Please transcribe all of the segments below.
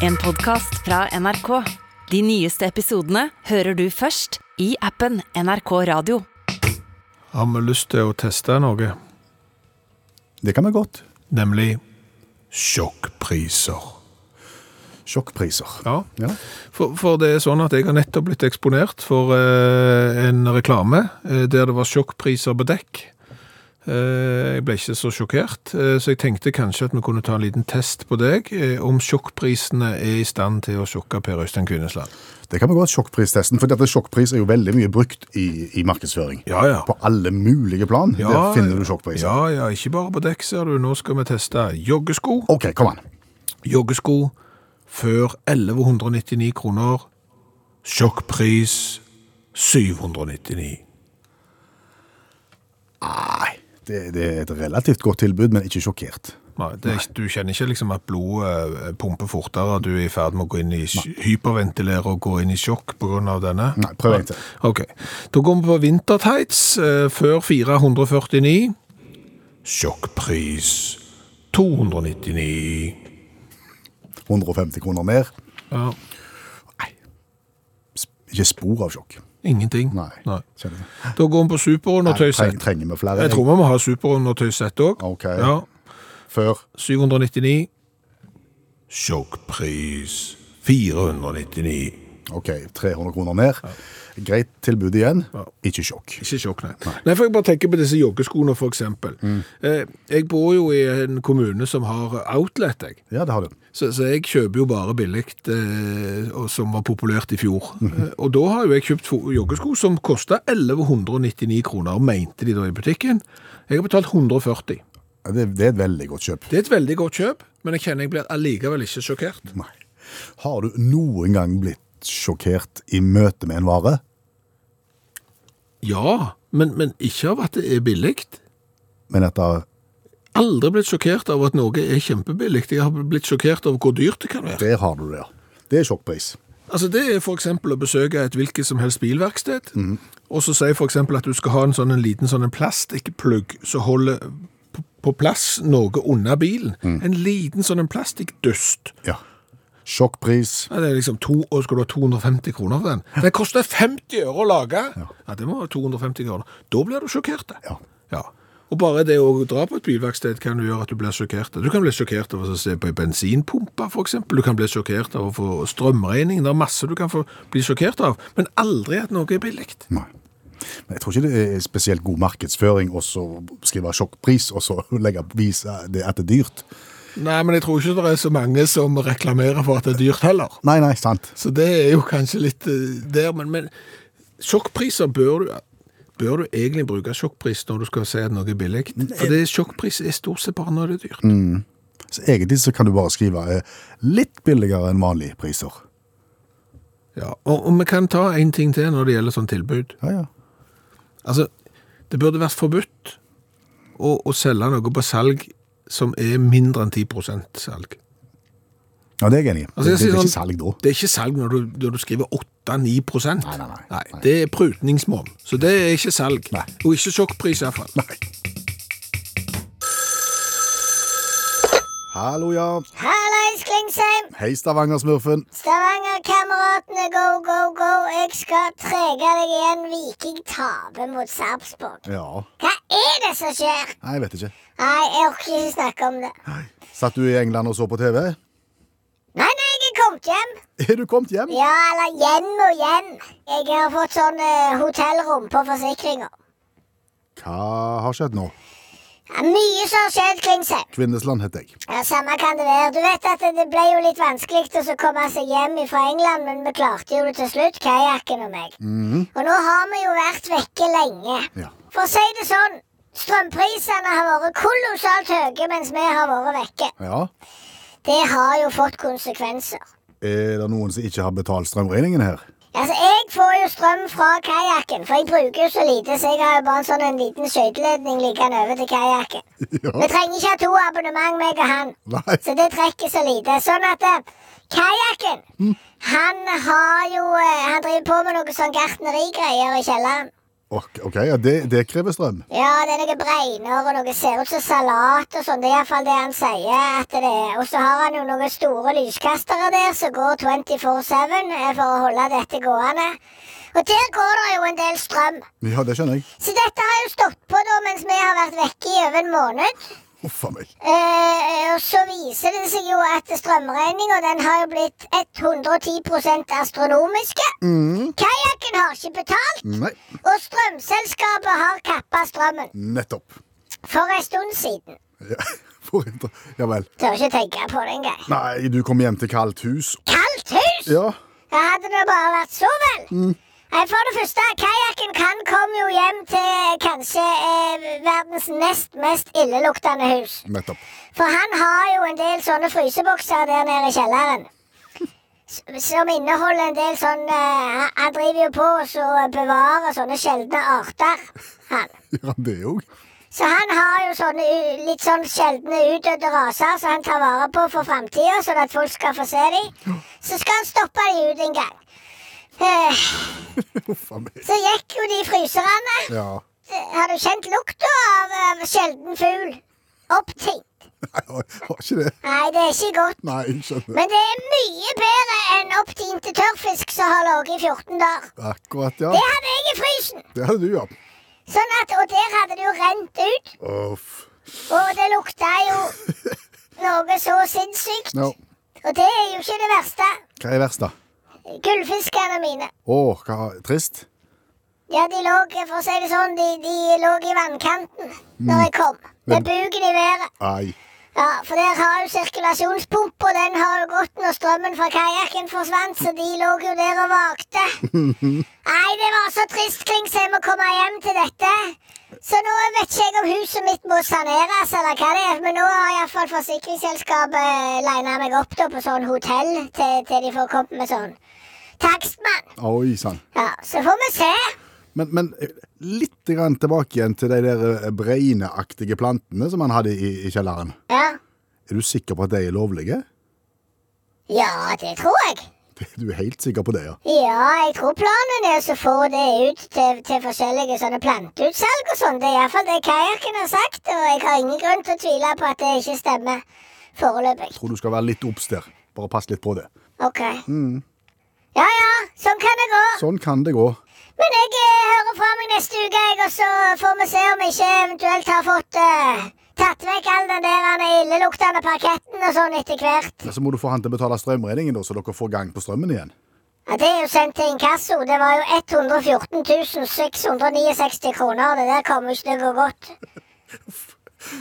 En podcast fra NRK. De nyeste episodene hører du først i appen NRK Radio. Har vi lyst til å teste noe, Det kan vi godt. nemlig sjokkpriser. Sjokkpriser. Ja, Ja. for, for det er sånn at jeg har nettopp blitt eksponert for eh, en reklame eh, der det var sjokkpriser på dekk. Eh, jeg ble ikke så sjokkert, eh, så jeg tenkte kanskje at vi kunne ta en liten test på deg eh, om sjokkprisene er i stand til å sjokke Per Øystein Kvinnesland. Det kan vi godt, sjokkpristesten. For dette sjokkpris er jo veldig mye brukt i, i markedsføring. Ja, ja. På alle mulige plan. Ja, der finner du sjokkpriser. Ja, ja, ikke bare på dekk, ser du. Nå skal vi teste joggesko. OK, kom an. joggesko før 1199 kroner. Sjokkpris 799. Nei, det, det er et relativt godt tilbud, men ikke sjokkert. Nei, det er, ikke- Du kjenner ikke liksom at blodet eh, pumper fortere, du er i ferd med å gå inn i sj- hyperventilere og gå inn i sjokk pga. denne? Nei, prøv en til. Ok. Da går vi på vintertights eh, før 449. Sjokkpris 299. 150 kroner mer. Ja, Ikke spor av sjokk. ingenting. Nei. Nei. Skjønner du. Da går vi på superundertøysett. Treng, trenger vi flere? Jeg tror vi må ha superundertøysett òg. Ok. Ja. Før 799. Sjokkpris 499. OK, 300 kroner mer. Greit tilbud igjen. Ikke sjokk. Ikke sjokk, nei. nei. for jeg bare tenker på disse joggeskoene, for eksempel. Eh, jeg bor jo i en kommune som har outlet, jeg. Ja, det har du. Så, så jeg kjøper jo bare billig, eh, og som var populært i fjor. Mhm. Eh, og da har jo jeg kjøpt fo- joggesko som kosta 1199 kroner, mente de da i butikken. Jeg har betalt 140. Ja, Det, det er et veldig godt kjøp. Det er et veldig godt kjøp, men jeg kjenner jeg blir allikevel ikke sjokkert. Nei. Har du noen gang blitt sjokkert i møte med en vare? Ja, men, men ikke av at det er billig. Men etter Aldri blitt sjokkert av at noe er kjempebillig. Jeg har blitt sjokkert over hvor dyrt det kan være. der har du det, ja. Det er sjokkpris. Altså, det er for eksempel å besøke et hvilket som helst bilverksted, og så sier for eksempel at du skal ha en sånn en liten sånn en plastikkplugg som holder p- på plass noe unna bilen. En liten sånn en plastikkdust. Ja. Sjokkpris. Ja, det er liksom to, og skal du ha 250 kroner for den? Den koster 50 øre å lage! Ja, det må være 250 kroner. Da blir du sjokkert. det. Ja. Ja. Og bare det å dra på et bilverksted kan jo gjøre at du blir sjokkert. Du kan bli sjokkert av å se på en bensinpumpe, for eksempel. Du kan bli sjokkert av å få strømregning. Det er masse du kan få bli sjokkert av, men aldri at noe er billig. Nei. Men jeg tror ikke det er spesielt god markedsføring å så skrive sjokkpris og så legge vise det at det er dyrt. Nei, men jeg tror ikke det er så mange som reklamerer for at det er dyrt heller. Nei, nei, sant. Så det er jo kanskje litt eh, der, men, men sjokkpriser bør du Bør du egentlig bruke sjokkpris når du skal si at noe er billig? For det sjokkpris er stort sett bare når det er dyrt. Så egentlig så kan du bare skrive eh, litt billigere enn vanlige priser. Ja, og, og vi kan ta en ting til når det gjelder sånn tilbud. Ja, ja. Altså, det burde vært forbudt å, å selge noe på salg som er mindre enn 10 salg. Ja, det er jeg enig i. Altså, det, jeg det, sier er ikke sånn- salg da. Det er ikke salg når du, når du skriver 8-9 Nei, nei, nei. Nei. Det er prutningsmål. Så det er ikke salg. Nei. Og ikke sjokkpris, iallfall. Hallo, ja. Hallais, Klingsheim! Hei, Stavanger-smurfen. Stavanger-kameratene, go, go, go! Jeg skal trege deg igjen. Viking taper mot Sarpsborg. Ja. Hva er det som skjer? Nei, jeg vet ikke. Nei, jeg orker ikke snakke om det. Satt du i England og så på TV? Nei, nei, jeg er kommet hjem. Er du kommet hjem? Ja, eller hjem og hjem. Jeg har fått sånn eh, hotellrom på forsikringa. Hva har skjedd nå? Ja, mye som har skjedd, Klingsheim. Kvinnesland heter jeg. Ja, Samme kan det være. Du vet at det- det ble jo litt vanskelig å så komme seg hjem fra England, men vi klarte jo det til slutt, kajakken og meg. Og nå har vi jo vært vekke lenge. Ja. For å si det sånn, strømprisene har vært kolossalt høye mens vi har vært vekke. Ja. Det har jo fått konsekvenser. Er det noen som ikke har betalt strømregningen her? Altså, Jeg får jo strøm fra kajakken, for jeg bruker jo så lite, så jeg har jo bare en sånn en liten skøyteledning liggende over til kajakken. Vi trenger ikke ha to abonnement, meg og han. Nei. Så det trekker så lite. Sånn at eh, kajakken, han har jo eh, Han driver på med noe sånn gartnerigreier i kjelleren. Ok, ok, ja, det, det krever strøm. Ja, det er noe bregner og noe ser ut som salat og sånn. Det er iallfall det han sier at det er. Og så har han jo noen store lyskastere der som går 24-7 eh, for å holde dette gående. Og der går det jo en del strøm. Ja, det skjønner jeg. Så dette har jo stått på da mens vi har vært vekke i over en måned. Uff a meg. Eh, og så viser det seg jo at strømregninga den har jo blitt 110 astronomiske. Kajakken har ikke betalt, Nei, og strømselskapet har kappa strømmen. nettopp. For en stund siden. Ja, for en dra- ja vel. Tør ikke tenke på det engang. Nei, du kom hjem til kaldt hus. Kaldt hus! Ja, Ja, hadde det bare vært så vel. Nei, For det første, kajakken kan komme jo hjem til kanskje eh, verdens nest mest illeluktende hus. nettopp. For han har jo en del sånne frysebokser der nede i kjelleren. S- Som inneholder en del sånn eh, han- Han driver jo på og så bevarer sånne sjeldne arter, han. Ja, det òg. Så han har jo sånne u- litt sånn sjeldne utdødde raser som han tar vare på for framtida, sånn at folk skal få se dem. Så skal han stoppe dem ut en gang. Eh, Uff a meg. Så gikk jo de fryserne. Ja. Eh, Har du kjent lukta av, av sjelden fugl? Opptint. Nei, har har ikke det. Nei, det er ikke godt. Nei, jeg skjønner. Men det er mye bedre enn opptinte tørrfisk som har ligget i 14 dager. Akkurat, ja. Det hadde jeg i frysen! Det hadde du, ja. Sånn at, Og der hadde det jo rent ut, Uff. og det lukta jo noe så sinnssykt. Ja. Og det er jo ikke det verste. Hva er verst, da? Gullfiskene mine. Å, hva Trist? Ja, de lå, for å si det sånn, de, de lå i vannkanten når jeg kom. Med buken i været. Nei. Ja, For der har jo sirkulasjonspumpa, den har jo gått når strømmen fra kajakken forsvant, så de lå jo der og vakte. Nei, det var så trist, Klings, jeg må komme hjem til dette. Så nå vet ikke jeg om huset mitt må saneres eller hva det er, men nå har iallfall forsikringsselskapet lina meg opp da på sånn hotell til, til de får kommet med sånn takstmann. Oi sann. Ja, så får vi se. Men, men litt grann tilbake igjen til de der bregneaktige plantene som han hadde i, i kjelleren. Ja. Er du sikker på at de er lovlige? ja, det tror jeg. Det- Du er helt sikker på det, ja? Ja, jeg tror planen er å få det ut til, til forskjellige sånne planteutsalg og sånn. Det er iallfall det kajakken har sagt, og jeg har ingen grunn til å tvile på at det ikke stemmer foreløpig. Tror du skal være litt obs der. Bare pass litt på det. Ok. Ja ja, sånn kan det gå. Sånn kan det gå. Men jeg eh, hører fra meg neste uke, jeg, og så får vi se om jeg ikke eventuelt har fått eh, tatt vekk all den der eh, illeluktende parketten og sånn etter hvert. Men så må du få han til å betale strømregningen, da, så dere får gang på strømmen igjen. Ja, Det er jo sendt til inkasso. Det var jo 114 669 kroner. Det der kommer ikke til å gå godt.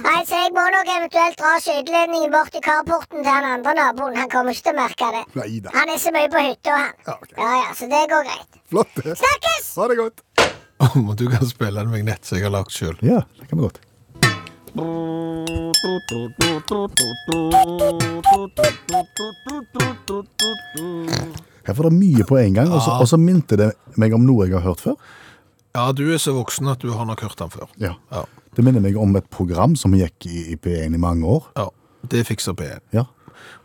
Nei, så jeg må nok eventuelt dra skyteledningen bort til carporten til han andre naboen. Han kommer ikke til å merke det. Neida. Han er så mye på hytta, han. Ja, ok. ja, ja, så det går greit. Flott, det. Snakkes! Ha det godt. Om du kan spille en vignett som jeg har lagd sjøl. Ja, det kan vi godt. Her var det mye på en gang, og så, og så minte det meg om noe jeg har hørt før. Ja, du er så voksen at du har nok hørt den før. Ja. Ja. Det minner meg om et program som gikk i, i P1 i mange år. ja. Det fikser P1. Ja.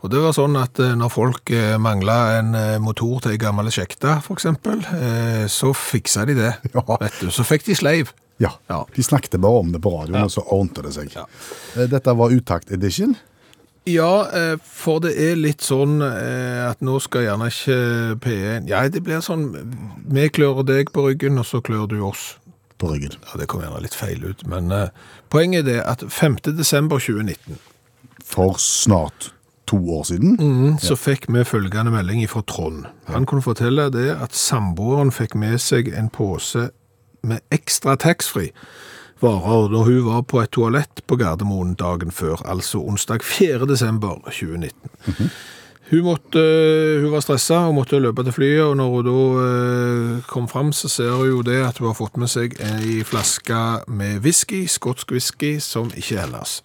Og det var sånn at eh, når folk eh, mangla en eh, motor til ei gammel sjekta, f.eks., eh, så fiksa de det. Ja. Vet du. Så fikk de sleiv. ja. Ja. De snakket bare om det på radioen, og så ordnet det seg. Eh, Dette var Utakt Edition. Ja, eh, for det er litt sånn eh, at nå skal gjerne ikke P1 Ja, det blir sånn Vi klør deg på ryggen, og så klør du oss. på ryggen. Ja, Det kom gjerne litt feil ut, men eh, poenget er det at 5. desember 2019 For snart to år siden. Mm. så fikk vi følgende melding fra Trond. Han kunne fortelle det at samboeren fikk med seg en pose med ekstra taxfree varer da hun var på et toalett på Gardermoen dagen før, altså onsdag 4. desember 2019. Hun, måtte, hun var stressa og måtte løpe til flyet, og når hun da eh, kom fram, så ser hun jo det at hun har fått med seg ei flaske med whisky, skotsk whisky, som ikke er hennes.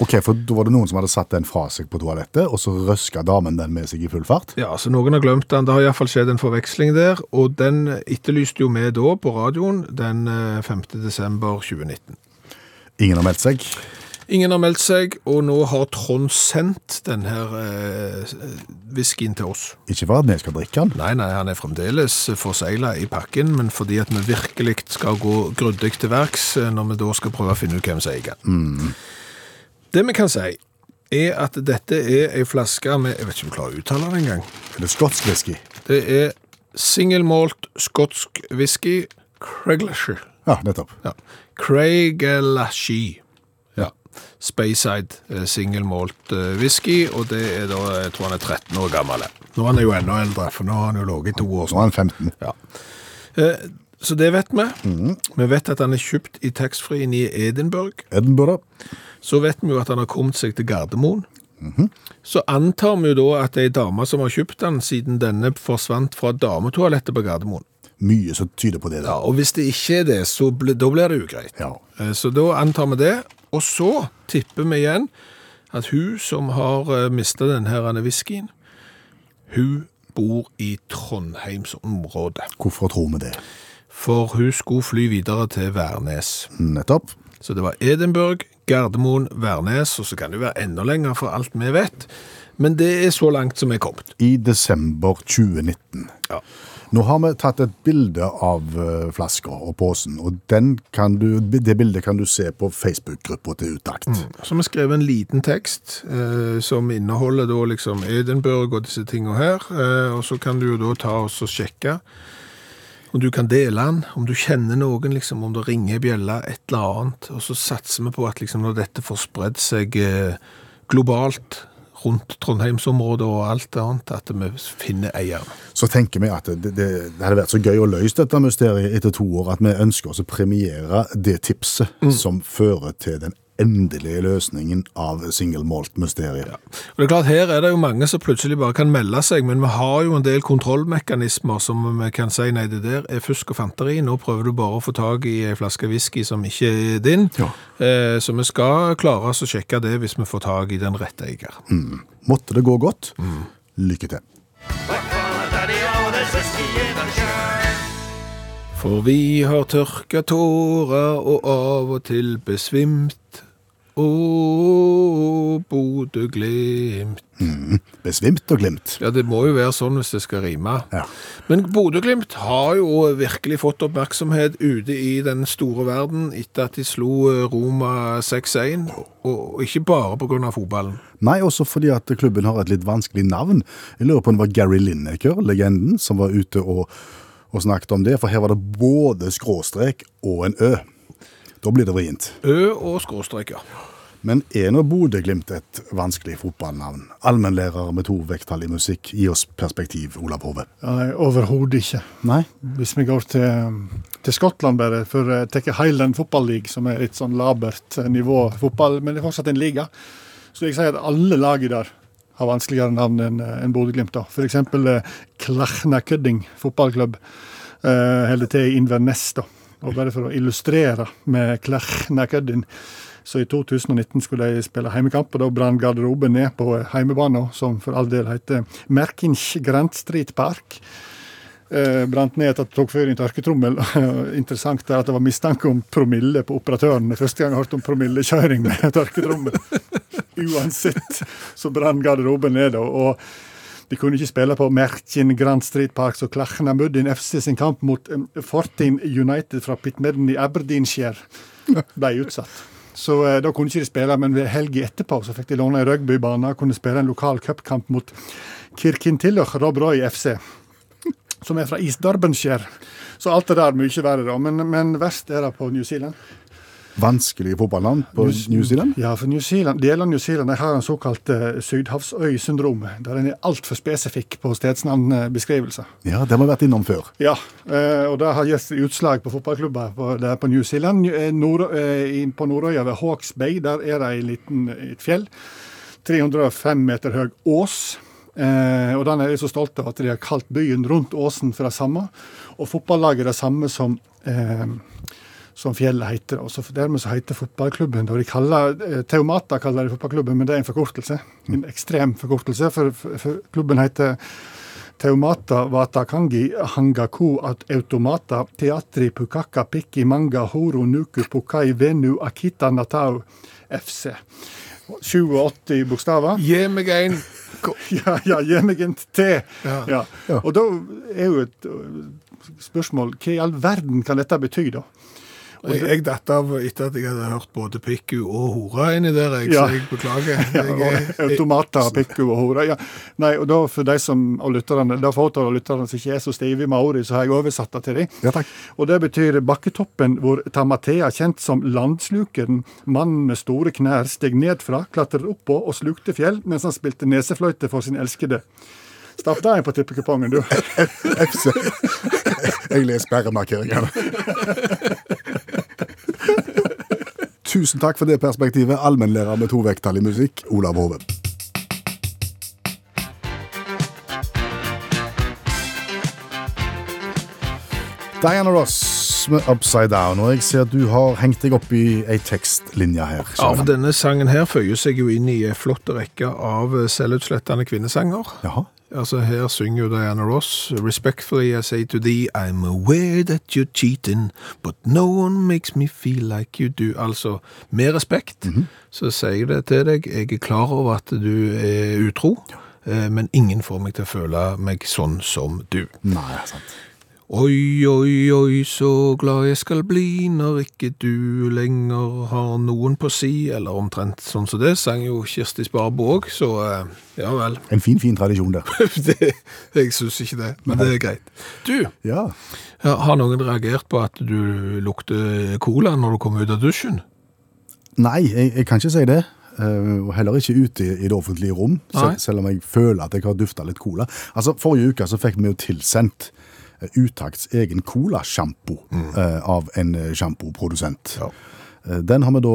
Ok, for Da var det noen som hadde satt den fra seg på toalettet, og så røska damen den med seg i full fart. Ja, så noen har glemt den. Det har iallfall skjedd en forveksling der, og den etterlyste jo vi da på radioen den eh, 5. desember 2019. Ingen har meldt seg. Ingen har meldt seg, og nå har Trond sendt denne eh, whiskyen til oss. Ikke for at vi skal drikke den. Nei, nei, han er fremdeles forsegla i pakken, men fordi at vi virkelig skal gå grundig til verks eh, når vi da skal prøve å finne ut hvem som eier den. Mm. Det vi kan si, er at dette er ei flaske med Jeg vet ikke om jeg klarer å uttale det engang. Er det skotsk whisky? Det er singelmålt skotsk whisky Craiglasher. Ja, nettopp. Ja. Craiglashy. Ja. Speyside eh, singelmålt eh, whisky, og det er da, jeg tror han er 13 år gammel. Nå er han jo enda eldre, for nå har han jo ligget i to år. Nå er han 15. Ja. Eh, Så det vet vi. Vi vet at han er kjøpt i taxfree-en i Edinburgh. Edinburgh. Så vet vi jo at han har kommet seg til Gardermoen. Mhm. Så antar vi jo da at det er ei dame som har kjøpt den, siden denne forsvant fra dametoalettet på Gardermoen. Mye som tyder på det. Ja, da. og hvis det ikke er det, så ble, da blir det ugreit. Ja. Eh, Så da antar vi det, og så tipper vi igjen at hun som har mista denne her whiskyen, hun bor i Trondheimsområdet. Hvorfor tror vi det? For hun skulle fly videre til Værnes. Nettopp. Så det var Edinburgh, Gardermoen, Værnes, og så kan det jo være enda lenger for alt vi vet. Men det er så langt som vi er kommet. I desember 2019. Ja. Nå har vi tatt et bilde av eh, flaska og posen, og den kan du, det bildet kan du se på Facebook-gruppa til Utakt. Så vi skrev en liten tekst eh, som inneholder da liksom Edinburgh og disse tingene her. Eh, og så kan du jo da ta oss og sjekke om du kan dele den, om du kjenner noen, liksom, om det ringer ei bjelle, et eller annet. Og så satser vi på at liksom når dette får spredd seg eh, globalt rundt Trondheimsområdet og alt annet, at vi finner eieren. Så tenker vi at det, det, det hadde vært så gøy å løse dette mysteriet etter to år, at vi ønsker oss å premiere det tipset som fører til den endelige løsningen av single malt-mysteriet. Og det er klart, Her er det jo mange som plutselig bare kan melde seg, men vi har jo en del kontrollmekanismer som vi kan si nei, det der er fusk og fanteri. Nå prøver du bare å få tak i ei flaske whisky som ikke er din. Ja. Eh, så vi skal klare oss å sjekke det hvis vi får tak i den rette eier. Måtte det gå godt, lykke til. For vi har tørka tårer og av og til besvimt. Å, Bodø-Glimt. Besvimt og glimt. Ja, det må jo være sånn hvis det skal rime. Ja. Men Bodø-Glimt har jo virkelig fått oppmerksomhet ute i den store verden etter at de slo eh, Roma 6-1, og ikke bare pga. fotballen. Nei, også fordi at klubben har et litt vanskelig navn. Jeg lurer på om det var Gary Lineker, legenden, som var ute og, og snakket om det. For her var det både skråstrek og en Ø. Da blir det vrient. Ø og skråstreker. Men er nå Bodø-Glimt et vanskelig fotballnavn? Allmennlærer med to vekttall i musikk, gi oss perspektiv, Olav Hove. Nei, overhodet ikke. Nei? Hvis vi går til, til Skottland, bare, for jeg tar Highland Football League, som er litt sånn labert nivå fotball, men det er fortsatt en liga. Så jeg sier at alle lagene der har vanskeligere navn enn en Bodø-Glimt. da. F.eks. Klachnakudding fotballklubb eh, holder til i Inverness. da. Og Bare for å illustrere med Klachnakudding. Så i 2019 skulle de spille heimekamp, og da brant garderoben ned på heimebanen, som for all del heter Merkinch Grand Street Park eh, brant ned etter at det tok fyr i en tørketrommel. Interessant er at det var mistanke om promille på operatøren. Det er Første gang jeg hørte om promillekjøring med tørketrommel. Uansett så brann garderoben ned. og- og de kunne ikke spille på Merkin Grand Street Park, så Klachnamuddin FC sin kamp mot eh, Fortin United fra Pitmedden i Aberdeenshire ble utsatt. Så eh, da kunne ikke de spille, men ved helga etterpå så fikk de låne en rugbybane og kunne spille en lokal cupkamp mot Kirkintilloch Rob Roy FC som er fra East Derbyshire. Så alt det der er mye verre, da. Men, men verst er det på New Zealand. Vanskelig fotballnavn på New Zealand? Ja, for New Zealand, Deler av New Zealand de har en såkalt eh, sydhavsøysyndrom, der en er altfor spesifikk på stedsnavnbeskrivelser. Ja, det har vi vært innom før. Ja, eh, og det har gitt seg utslag på fotballklubber på, der på New Zealand. Eh, Nord, eh, inn på Nordøya ved Hawks Bay der er det en liten, eh, et fjell. 305 meter høy ås. Eh, og den er de så stolte av at de har kalt byen rundt åsen for det samme. Og fotballaget er det samme som eh, som fjellet heter. Og så dermed så heter fotballklubben og de kaller, eh, Theomata kaller de fotballklubben, men det er en forkortelse. En ekstrem forkortelse. For, for, for klubben heter Theomata Watakangi Hangaku at Automata Teatri Pukaka Piki Manga Horo Nuku Pukai Venu Akita Natau FC. 87 bokstaver. Gi meg en Ja, ja, gi meg en te. Ja. Ja. Ja. Og da er jo et øh, spørsmål Hva i all verden kan dette bety, da? Jeg, jeg datt av etter at jeg hadde hørt både pikku og hore inni der, jeg, Ja. så jeg beklager. Ja, Jeg, og er- automater, pikku og hore. Ja. Nei, og da for de som, og lytterne, da for fåtallet av lytterne som ikke er så stive i maori, så har jeg oversatt det til dem. Ja, takk. Og det betyr bakketoppen hvor Tamatea, kjent som landslukeren, mannen med store knær, steg nedfra, klatret oppå og slukte fjell mens han spilte nesefløyte for sin elskede. Stapp deg på tippekupongen, du. FC. Jeg leser sperremarkeringene. Tusen takk for det perspektivet, allmennlærer med to vekttall i musikk, Olav Hove. Diana Ross med Upside Down, og jeg ser at du har hengt deg opp i ei tekstlinje her. Ja, for denne sangen her føyer seg jo inn i en flott rekke av eh, selvutslettende kvinnesanger. Jaha. Altså Her synger jo Diana Ross Respectfully I say to thee I'm aware that you're cheating But no one makes me feel like you do Altså, med respekt Så sier jeg det til deg Jeg er klar over at du er utro eh, Men ingen får meg til å føle meg sånn som du Nei, sant. Oi, oi, oi, så glad jeg skal bli når ikke du lenger har noen på si, eller omtrent sånn som det, sang jo Kirsti Sparbo òg, så eh, ja vel. En fin, fin tradisjon der. det, jeg syns ikke det, men det er greit. Du, Ja. ja, har noen reagert på at du lukter cola når du kommer ut av dusjen? Nei, jeg, jeg kan ikke si det. Eh, og heller ikke ute i, i det offentlige rom, Nei. sel selv om jeg føler at jeg har dufta litt cola. Altså, Forrige uke så fikk vi jo tilsendt eh, Utakts egen colasjampo eh, av en eh, sjampoprodusent. Mm. Ja. Eh, Den har vi da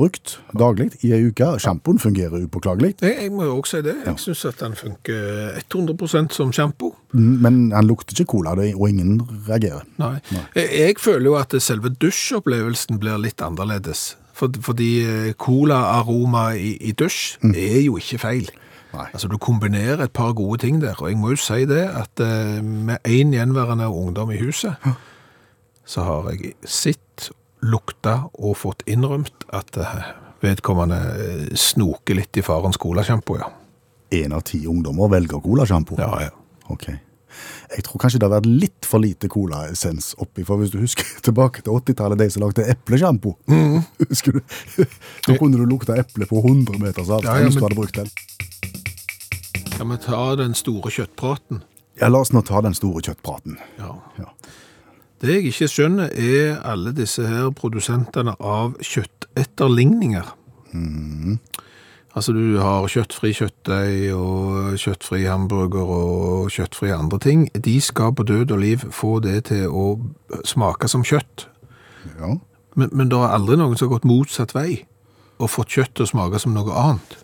brukt daglig i ei uke. Sjampoen fungerer upåklagelig, Jeg, jeg må jo òg si det. Jeg syns at den funker 100 som sjampo. men han lukter ikke cola, det- og ingen reagerer. Nei. Jeg, jeg føler jo at selve dusjopplevelsen blir litt annerledes. For, fordi eh, colaaroma i, i dusj er jo ikke feil. Nei. Altså Du kombinerer et par gode ting der, og jeg må jo si det at eh, med én gjenværende ungdom i huset, så har jeg sett, lukta og fått innrømt at eh, vedkommende eh, snoker litt i farens colasjampo, ja. Én av ti ungdommer velger colasjampo. Ja, ja. Ok. Jeg tror kanskje det har vært litt for lite colaessens oppi, for hvis du husker tilbake til 80-tallet, de som lagde eplesjampo Mhm. Husker du? Da kunne du lukte eple på 100 meters avstand Ja, ja, hvis du men- hadde brukt den. Kan vi ta den store kjøttpraten? Ja, La oss nå ta den store kjøttpraten. Ja. Ja. Det jeg ikke skjønner, er alle disse her produsentene av kjøttetterligninger. Altså, du har kjøttfri kjøttdeig og kjøttfri hamburger og kjøttfri andre ting. De skal på død og liv få det til å smake som kjøtt. Ja. Men, men det er aldri noen som har gått motsatt vei og fått kjøtt til å smake som noe annet.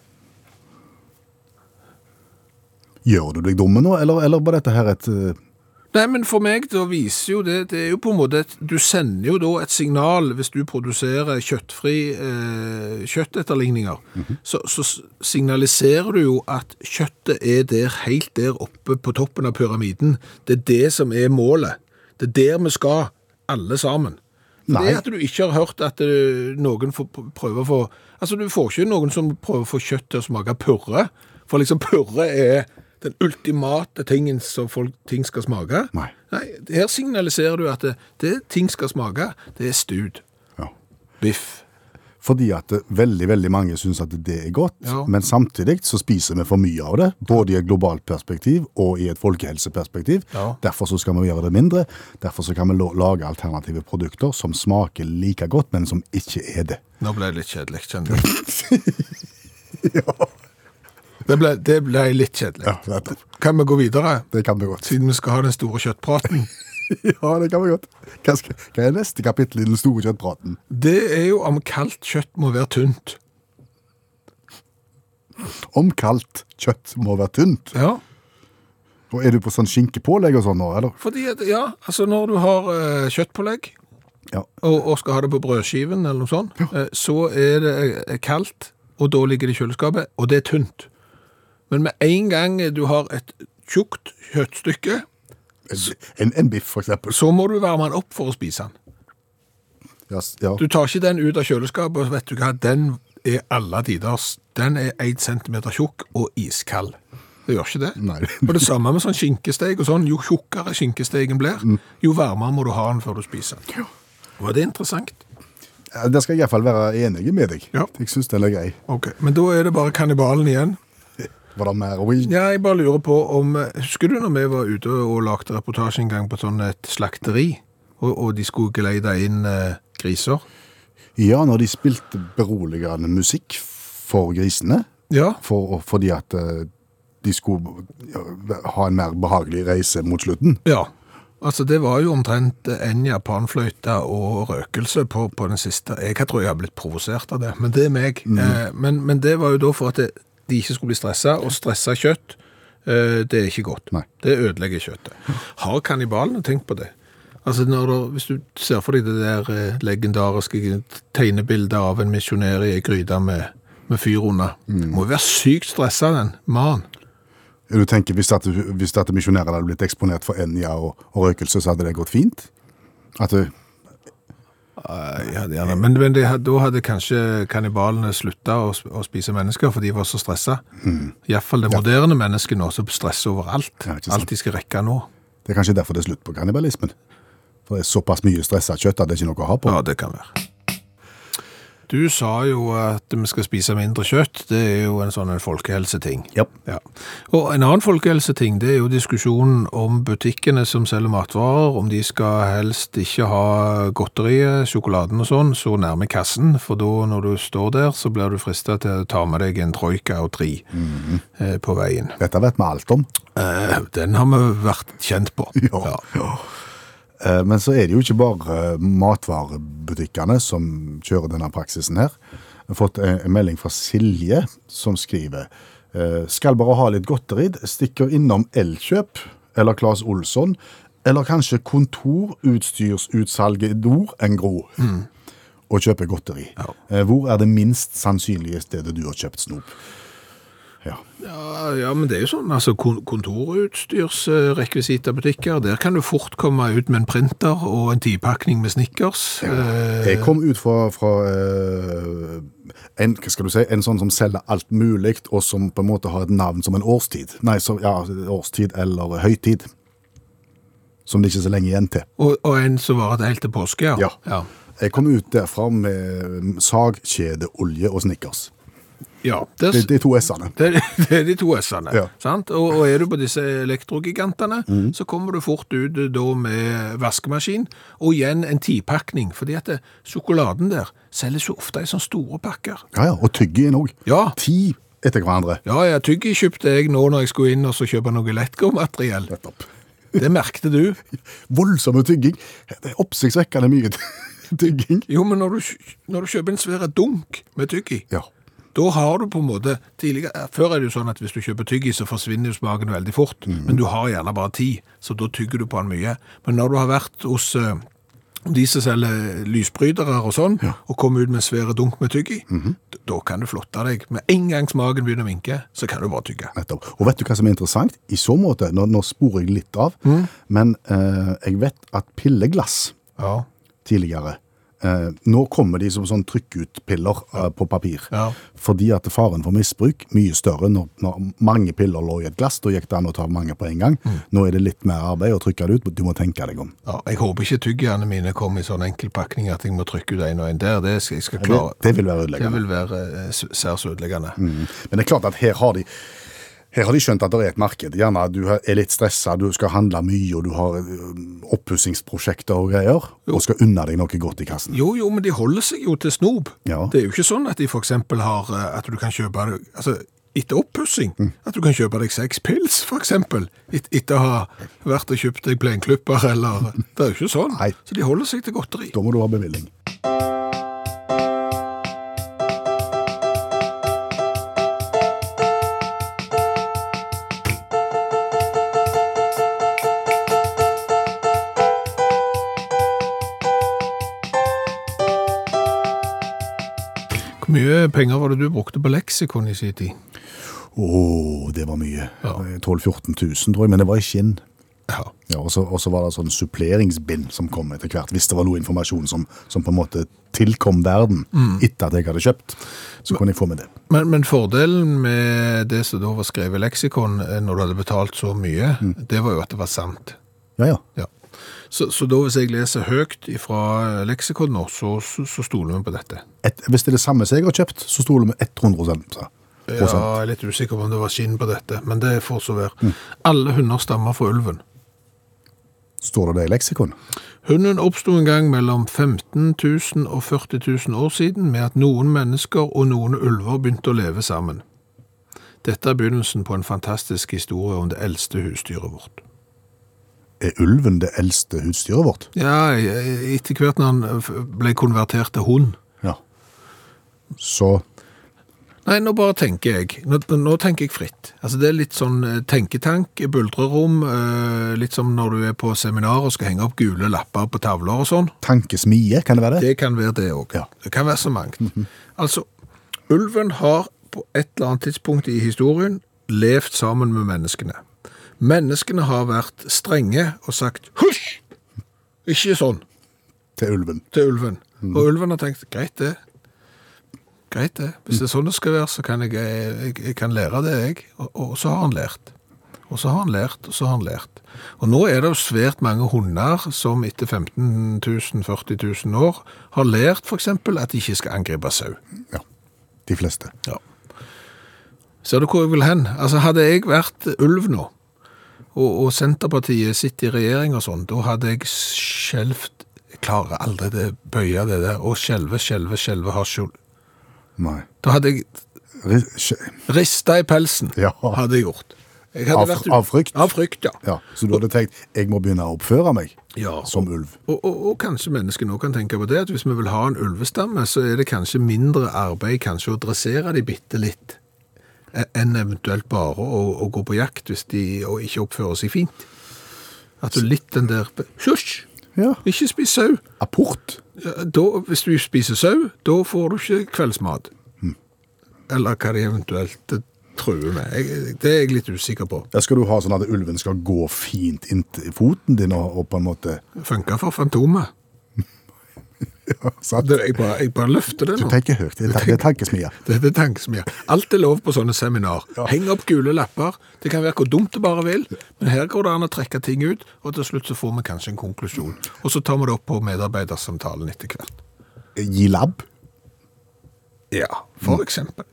Gjør du deg dumme nå, eller, eller var dette her et eh, Nei, men for meg da viser jo det Det er jo på en måte et, Du sender jo da et signal hvis du produserer kjøttfri eh, kjøttetterligninger. så, så s- signaliserer du jo at kjøttet er der helt der oppe på toppen av pyramiden. Det er det som er målet. Det er der vi skal, alle sammen. Nei. Det at du ikke har hørt at eh, noen får pr- prøver å få Altså, du får ikke noen som prøver å få kjøtt til å smake purre. For liksom purre er den ultimate tingen som folk, ting skal smake. Nei. Her signaliserer du at det, det ting skal smake, det er stud. ja. Biff. Fordi at eh, veldig veldig mange syns at det er godt, Ja. men samtidig så spiser vi for mye av det. Både i et globalt perspektiv og i et folkehelseperspektiv. Ja. Derfor så skal vi gjøre det mindre. Derfor så kan vi lo- lage alternative produkter som smaker like godt, men som ikke er det. Nå ble det litt kjedelig, kjenner jeg. Det ble, det ble litt kjedelig. nettopp. Kan vi gå videre, Det kan vi godt. siden vi skal ha den store kjøttpraten? Ja, det kan vi godt. Hva, skal, hva er neste kapittel i den store kjøttpraten? Det er jo om kaldt kjøtt må være tynt. Om kaldt kjøtt må være tynt. Ja. Og er du på sånn skinkepålegg og sånn nå, eller? Fordi at, ja, altså når du har eh, kjøttpålegg, Ja. og, og skal ha det på brødskiven eller noe sånt, eh, så er det eh, kaldt, og da ligger det i kjøleskapet, og det er tynt. Men med en gang du har et tjukt kjøttstykke, En, en biff, for eksempel. så må du varme den opp for å spise den. Ja, s- ja. Du tar ikke den ut av kjøleskapet, og vet du hva, den er alle tiders. Den er 1 centimeter tjukk og iskald. Det gjør ikke det. Nei. Og det samme med sånn skinkesteig og sånn. Jo tjukkere skinkesteigen blir, jo varmere må du ha den før du spiser den. Var det interessant? Ja, Der skal jeg iallfall være enig med deg. Ja. Jeg syns den er grei. Ok, Men da er det bare kannibalen igjen. Var det mer å gi? Ja, jeg bare lurer på om eh, Husker du når vi var ute og lagde reportasje en gang på sånn et slakteri, og, og de skulle geleide inn eh, griser? Ja, når de spilte beroligende musikk for grisene, Ja. for, fordi at eh, de skulle ja, ha en mer behagelig reise mot slutten. ja. Altså, det var jo omtrent en japanfløyte og røkelse på, på den siste. Jeg tror jeg har blitt provosert av det, men det er meg. Eh, men, men det var jo da for at det, de ikke skulle bli stressa, og stressa kjøtt, eh, det er ikke godt. Nei. Det ødelegger kjøttet. Har kannibalene tenkt på det? Altså når du, Hvis du ser for deg det der eh, legendariske tegnebildet av en misjonær i ei gryte med, med fyr under Det må jo være sykt stressa, den mannen. Du tenker, Hvis, at, hvis at misjonærer hadde blitt eksponert for Enja og, og røkelse, så hadde det gått fint? At eh, du, Ja, det er det. Men, men det, da hadde kanskje kannibalene slutta å, sp- å spise mennesker, for de var så stressa. Iallfall det moderne mennesket nå, som stresser overalt. Mm. Ja, ikke sant. Alt de skal rekke nå. Det er kanskje derfor det er slutt på kannibalismen? For det er såpass mye stressa kjøtt at det er ikke noe å ha på. Ja, det kan være. Du sa jo at vi skal spise mindre kjøtt. Det er jo en sånn en folkehelseting. Ja. Ja. Og en annen folkehelseting, det er jo diskusjonen om butikkene som selger matvarer, om de skal helst ikke ha godteriet, sjokoladen og sånn, så nærme kassen, for da når du står der, så blir du fristet til å ta med deg en trojka og tre eh, på veien. Dette har vært med alt om. Eh, den har vi vært kjent på. Ja. Eh, Men så er det jo ikke bare eh, matvarebutikkene som kjører denne praksisen her. Jeg har fått eh, en melding fra Silje som skriver eh, Skal bare ha litt godteri, stikker innom Elkjøp eller Claes Olsson, eller kanskje kontorutstyrsutsalget Dor enn Gro. Og kjøper godteri. Eh, Hvor er det minst sannsynlige stedet du har kjøpt snop? Ja. Ja, ja, men det er jo sånn, altså kon- kontorutstyrsrekvisita-butikker, der kan du fort komme ut med en printer og en tipakning med snickers. Eh, Jeg kom ut fra, fra eh, en, hva skal du si, en sånn som selger alt mulig, og som på en måte har et navn som en årstid. Nei, så, ja, årstid eller høytid. Som det ikke er så lenge igjen til. og, og en som varer det helt til påske, ja. Ja. ja. Jeg kom ut derfra med sagkjede, olje og snickers. Ja, det, Det, det er to s-ene. det, det er de to S-ene. Ja. Mm. sant? Og, og er du på disse elektrogigantene, så kommer du fort ut eh, da med vaskemaskin, og igjen en tipakning, fordi at det, sjokoladen der selges jo ofte i sånne store pakker. Ja, ja, og tygge inn òg. Ja. Ti etter hverandre. Ja, ja, tyggi kjøpte jeg nå når jeg skulle inn og så kjøpe noe lettgåmateriell. Nettopp. Det merkte du. Voldsomme tygging. Det er oppsiktsvekkende mye tygging. Jo, men når du, kj- når du kjøper en svær dunk med tyggi, Ja. Da har du på en måte tidligere, Før er det jo sånn at hvis du kjøper tyggi, så forsvinner jo smaken veldig fort. Mm. Men du har gjerne bare ti, så da tygger du på den mye. Men når du har vært hos eh, de som selger lysbrytere og sånn, og kommer ut med en svær dunk med tyggi, Mhm. d- da kan du flotte deg. Med en gang smaken begynner å vinke, så kan du bare tygge. Nettopp. Og vet du hva som er interessant? I så måte, nå, nå sporer jeg litt av, Mm. men eh, jeg vet at pilleglass Ja. tidligere eh, Nå kommer de som sånn trykkutpiller eh, på papir. Ja. Fordi at faren for misbruk mye større når, når mange piller lå i et glass. Da gikk det an å ta mange på en gang. Mm. Nå er det litt mer arbeid å trykke det ut. Du må tenke deg om. ja. Jeg håper ikke tyggiene mine kommer i sånn enkel pakning at jeg må trykke ut en og en der. Det skal jeg skal Det, klare. det vil være Det ødeleggende. vil være eh, s- særs ødeleggende. Mm. Men det er klart at her har de her har de skjønt at det er et marked. Gjerne Du er litt stressa, du skal handle mye, og du har ø, oppussingsprosjekter og greier, og skal unne deg noe godt i kassen. Jo, jo, men de holder seg jo til snop. Ja. Det er jo ikke sånn at de for eksempel har eh, at du kan kjøpe deg- altså, etter oppussing, at du kan kjøpe deg seks pils, for eksempel, et, etter å ha vært og kjøpt deg plenklipper, eller Det er jo ikke sånn. Nei. Så de holder seg til godteri. Da må du ha bevilling. Hvor mye penger var det du brukte på leksikon i sin tid? Å, det var mye. Eh, Ja. 12 000-14 000, tror jeg, men det var i skinn. Ja. Ja, og, så, og så var det sånn suppleringsbind som kom etter hvert, hvis det var noe informasjon som, som på en måte tilkom verden Mm. etter at jeg hadde kjøpt. Så kunne jeg få med det. Men, men fordelen med det som da var skrevet i leksikon, eh, når du hadde betalt så mye, det var jo at det var sant. Ja, ja. Ja. Så, så da hvis jeg leser høyt fra leksikon nå, så, så, så stoler vi på dette. Et, hvis det er det samme som jeg har kjøpt, så stoler vi 100 på det. Ja, jeg er litt usikker på om det var skinn på dette, men det får så være. Alle hunder stammer fra ulven. Står det det i leksikon? Hunden oppsto en gang mellom 15 000 og 40 000 år siden med at noen mennesker og noen ulver begynte å leve sammen. Dette er begynnelsen på en fantastisk historie om det eldste husdyret vårt. Er ulven det eldste husdyret vårt? Ja, etter hvert når han f- ble konvertert til hund. Ja. Så Nei, nå bare tenker jeg. Nå, nå tenker jeg fritt. Altså, det er litt sånn eh, tenketank, buldrerom, eh, litt som når du er på seminar og skal henge opp gule lapper på tavler og sånn. tankesmie, kan det være det? Det kan være det òg. Ja. Det kan være så mangt. Altså, ulven har på et eller annet tidspunkt i historien levd sammen med menneskene. Menneskene har vært strenge og sagt 'husj'! Ikke sånn Til ulven. til ulven. Og ulven har tenkt 'greit, det'. Greit det. Hvis det er sånn det skal være, så kan jeg, jeg, jeg kan lære det, jeg. Og, og så har han lært. Og så har han lært, og så har han lært. Og nå er det jo svært mange hunder som etter 15 000-40 000 år har lært f.eks. at de ikke skal angripe sau. Ja. De fleste. Ja. Ser du hvor jeg vil hen? Altså, hadde jeg vært ulv nå, og, og Senterpartiet sitter i regjering og sånn, da hadde jeg skjelvt Jeg klarer aldri det, bøye det der, og skjelve, skjelve, skjelve har skjul. Nei. Da hadde jeg Ri- skje- rista i pelsen, Ja. hadde jeg gjort. Jeg hadde Av- vært- av frykt? Av frykt, ja. Ja, så du hadde tenkt jeg må begynne å oppføre meg Ja, som ulv. Og, og, og kanskje mennesker nå kan tenke på det, at hvis vi vil ha en ulvestamme, så er det kanskje mindre arbeid kanskje å dressere de bitte litt, e- enn eventuelt bare å, å gå på jakt hvis de og ikke oppfører seg fint. At du litt den der Hysj! Ja. Ikke spis sau! Apport. Ja, Da, hvis du spiser sau, da får du ikke kveldsmat. Hm. Eller hva de eventuelt eh, truer med. Jeg, det er jeg litt usikker på. Der skal du ha sånn at ulven skal gå fint inntil foten din og, og på en måte Funka for Fantomet. ja, sant? Det- Jeg bare, jeg bare løfter det Du nå. tenker høyt. Det er, ta- det er tankesmie. Dette er tankesmia. Alt er lov på sånne seminar. Heng opp gule lapper. Det kan være hvor dumt det bare vil, men her går det an å trekke ting ut, og til slutt så får vi kanskje en konklusjon. Og så tar vi det opp på medarbeidersamtalen etter hvert. Gi labb. Ja, for eksempel.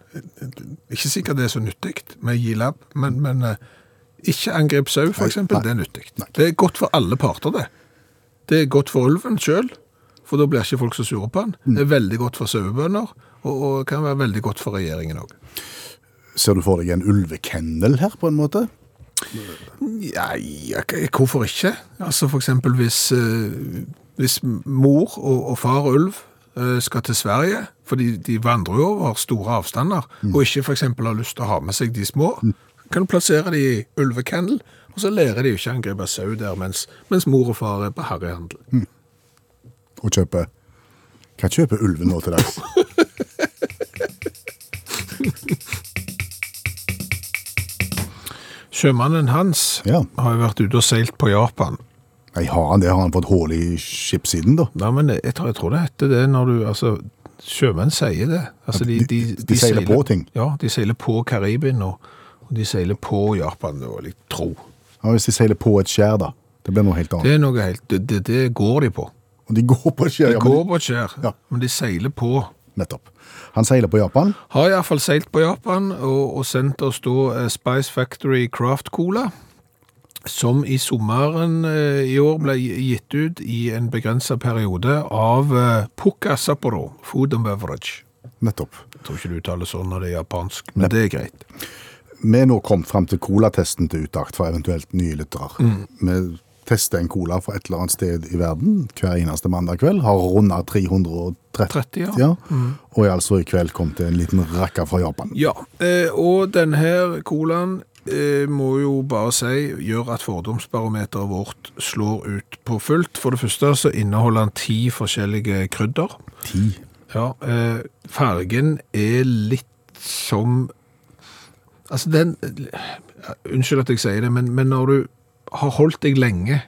Ikke sikkert det er så nyttig med G-lab, men, men eh, ikke angrip sau, for Nei, eksempel. nei. Det er nyttig. Nei. Det er godt for alle parter, det. Det er godt for ulven sjøl, for da blir ikke folk så sure på den. Mm. Det er veldig godt for sauebønder, og, og kan være veldig godt for regjeringen òg. Ser du for deg en ulvekennel her, på en måte? Ja, ja, k- hvorfor ikke? Altså for eksempel hvis, eh, hvis mor og, og far ulv eh, skal til Sverige, fordi de vandrer jo over store avstander, og ikke for eksempel har lyst til å ha med seg de små, kan du plassere de i ulvekennel, og så lærer de jo ikke å angripe sau der, mens, mens mor og far er på harryhandel. Og kjøpe Hva kjøper ulven nå til dags? Sjømannen hans Ja. har jo vært ute og seilt på Japan. Nei, har han det? Har han fått hull i skipssiden, da? Nei, men jeg tror, jeg tror det heter det når du, altså, sjømenn sier det. Altså, de, de, de- de seiler på ting. Ja, de seiler på Karibien, og, og de seiler på Japan, og jeg tro. Ja, hvis de seiler på et skjær, da? Det blir noe helt annet. Det er noe helt, det, det, det går de på. Og de går på et skjær. De ja, men går på et skjær, Ja. men de seiler på. de- Nettopp. Han seiler på Japan. Har i hvert fall seilt på Japan, og, og sendt oss da eh, Spice Factory Craft Cola, som i sommeren eh, i år ble gitt ut i en begrenset periode av eh, Pukka Sapporo Food and Beverage. Nettopp. Jeg tror ikke du uttaler sånn når det er japansk, men det er greit. Vi er nå kommet fram til colatesten til utakt for eventuelt nye lyttere. Mm. Vi tester en cola fra et eller annet sted i verden hver eneste mandag kveld. Har runda 330, 30, ja. Mm. og er altså i kveld kommet til en liten rakker fra Japan. Ja, eh, og denne her colaen eh, må jo bare si gjør at fordomsbarometeret vårt slår ut på fullt. For det første så inneholder han ti forskjellige krydder. Ti. Ja, eh, fargen er litt eh, som Altså, den Unnskyld at jeg sier det, men, men når du har holdt deg lenge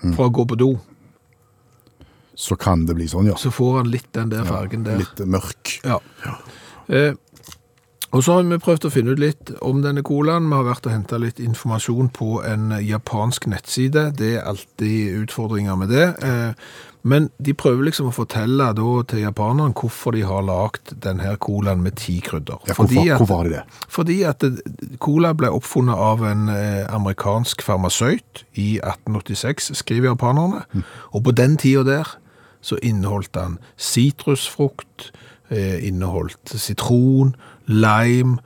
Mm. fra å gå på do, Så kan det bli sånn, ja. så får han litt den der fargen der. Litt mørk. Ja. Eh, og så har vi prøvd å finne ut litt om denne colaen. Vi har vært og henta litt informasjon på en japansk nettside. Det er alltid utfordringer med det. Eh, men de prøver liksom å fortelle da til japaneren hvorfor de har lagd denne colaen med ti krydder. Ja, hvorfor, Fordi at- hvorfor har de det? fordi at eh, cola ble oppfunnet av en eh, amerikansk farmasøyt i 1886, skriver japanerne. Og på den tida der så inneholdt den sitrusfrukt, eh, inneholdt sitron, lime,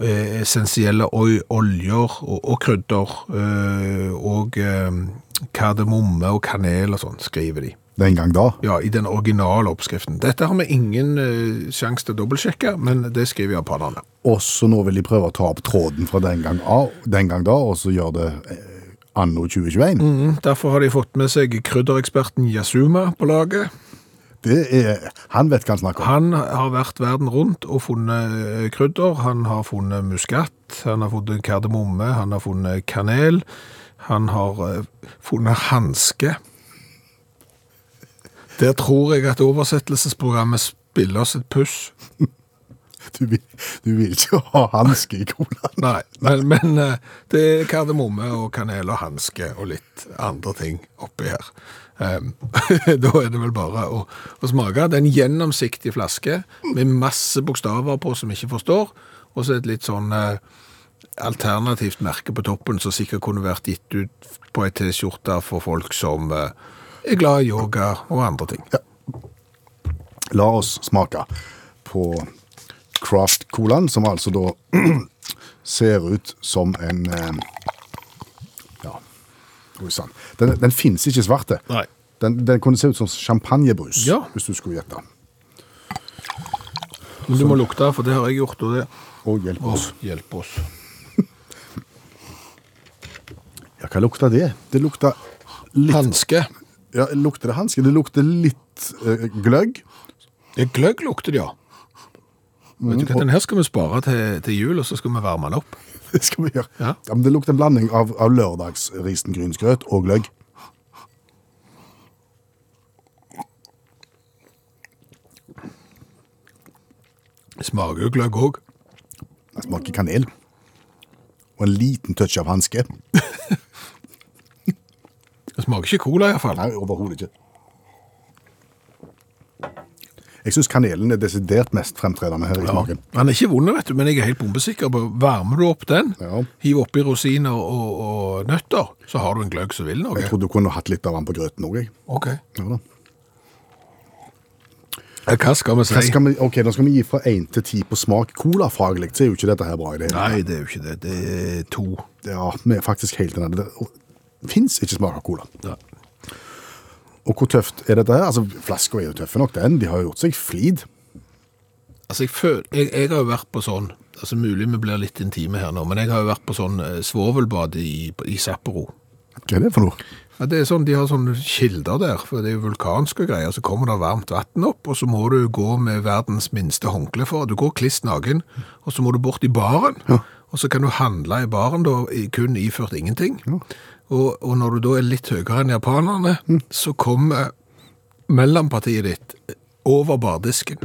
eh, essensielle oi- oljer og, og krydder, eh, og eh, kardemomme og kanel og sånn, skriver de. Den gang da? Ja, i den originale oppskriften. Dette har vi ingen eh, sjanse til å dobbeltsjekke, men det skriver japanerne. Og så nå vil de prøve å ta opp tråden fra den gang, av, den gang da, og så gjør det eh, anno 2021. Mm, Derfor har de fått med seg kryddereksperten Yasuma på laget. Det er, han vet hva han snakker om. Han har vært verden rundt og funnet eh, krydder. Han har funnet muskat, han har funnet kardemomme, han har funnet kanel. Han har eh, funnet hanske. Der tror jeg at oversettelsesprogrammet spiller oss et puss. Du vil, du vil ikke ha hanske i colaen. Nei, men, men eh, det er kardemomme og kanel og hanske og litt andre ting oppi her. Em, da er det vel bare å, å smake. Det er en gjennomsiktig flaske med masse bokstaver på som vi ikke forstår, og så et litt sånn eh, alternativt merke på toppen som sikkert kunne vært gitt ut på ei T-skjorte for folk som eh, er glad i yoga og andre ting. La oss smake på Craft Colaen, som altså da ser ut som en eh, Ja, oi sann. Den, den fins ikke svarte. Nei. Den, den kunne se ut som champagnebrus, Ja. hvis du skulle gjette. Men du må lukte, for det har jeg gjort, og det Å, hjelp oss. hjelper oss. Ja, hva lukta det? Det lukta litt Hanske. Ja, lukter det hanske? Det lukter litt eh, gløgg. Det er gløgg lukter det, ja. Mm, Vet du hva, Den her skal vi spare til, til jul, og så skal vi varme den opp. Det skal vi gjøre. Ja. Ja. men det lukter en blanding av, av lørdagsrisengrynsgrøt og gløgg. Det smaker jo gløgg òg. Det smaker kanel. Og en liten touch av hanske. Det smaker ikke cola, iallfall. Nei, overhodet ikke. Jeg syns kanelen er desidert mest fremtredende her i smaken. Den er ikke vond, vet du, men jeg er helt bombesikker på Varmer du opp den, Ja. hiv oppi rosiner og, og nøtter, så har du en gløgg som vil Jeg noe. trodde du kunne hatt litt av den på grøten òg. Ok. Ja, da. Ja, Hva skal vi si? Hva skal vi- ok, nå skal vi gi fra én til ti på smak. Colafaglig så er jo ikke dette her bra i det hele Nei, det er jo ikke det. Det er to. Ja, vi er faktisk helt enige. Det fins ikke smak av cola. Nei. Og hvor tøft er dette her? Altså, Flaska er jo tøffe nok, den. De har jo gjort seg flid. Altså, jeg, føler, jeg, jeg har jo vært på sånn altså Mulig vi blir litt intime her nå, men jeg har jo vært på sånn eh, svovelbad i, i Sapporo. Hva er det for noe? Ja, det er sånn, De har sånne kilder der, for det er jo vulkanske greier. Så kommer det varmt vann opp, og så må du gå med verdens minste håndkle for. Du går kliss naken, og så må du bort i baren. Og så kan du handle i baren, da, i- kun iført ingenting. Og, og når du da er litt høyere enn japanerne, så kommer mellompartiet ditt over bardisken.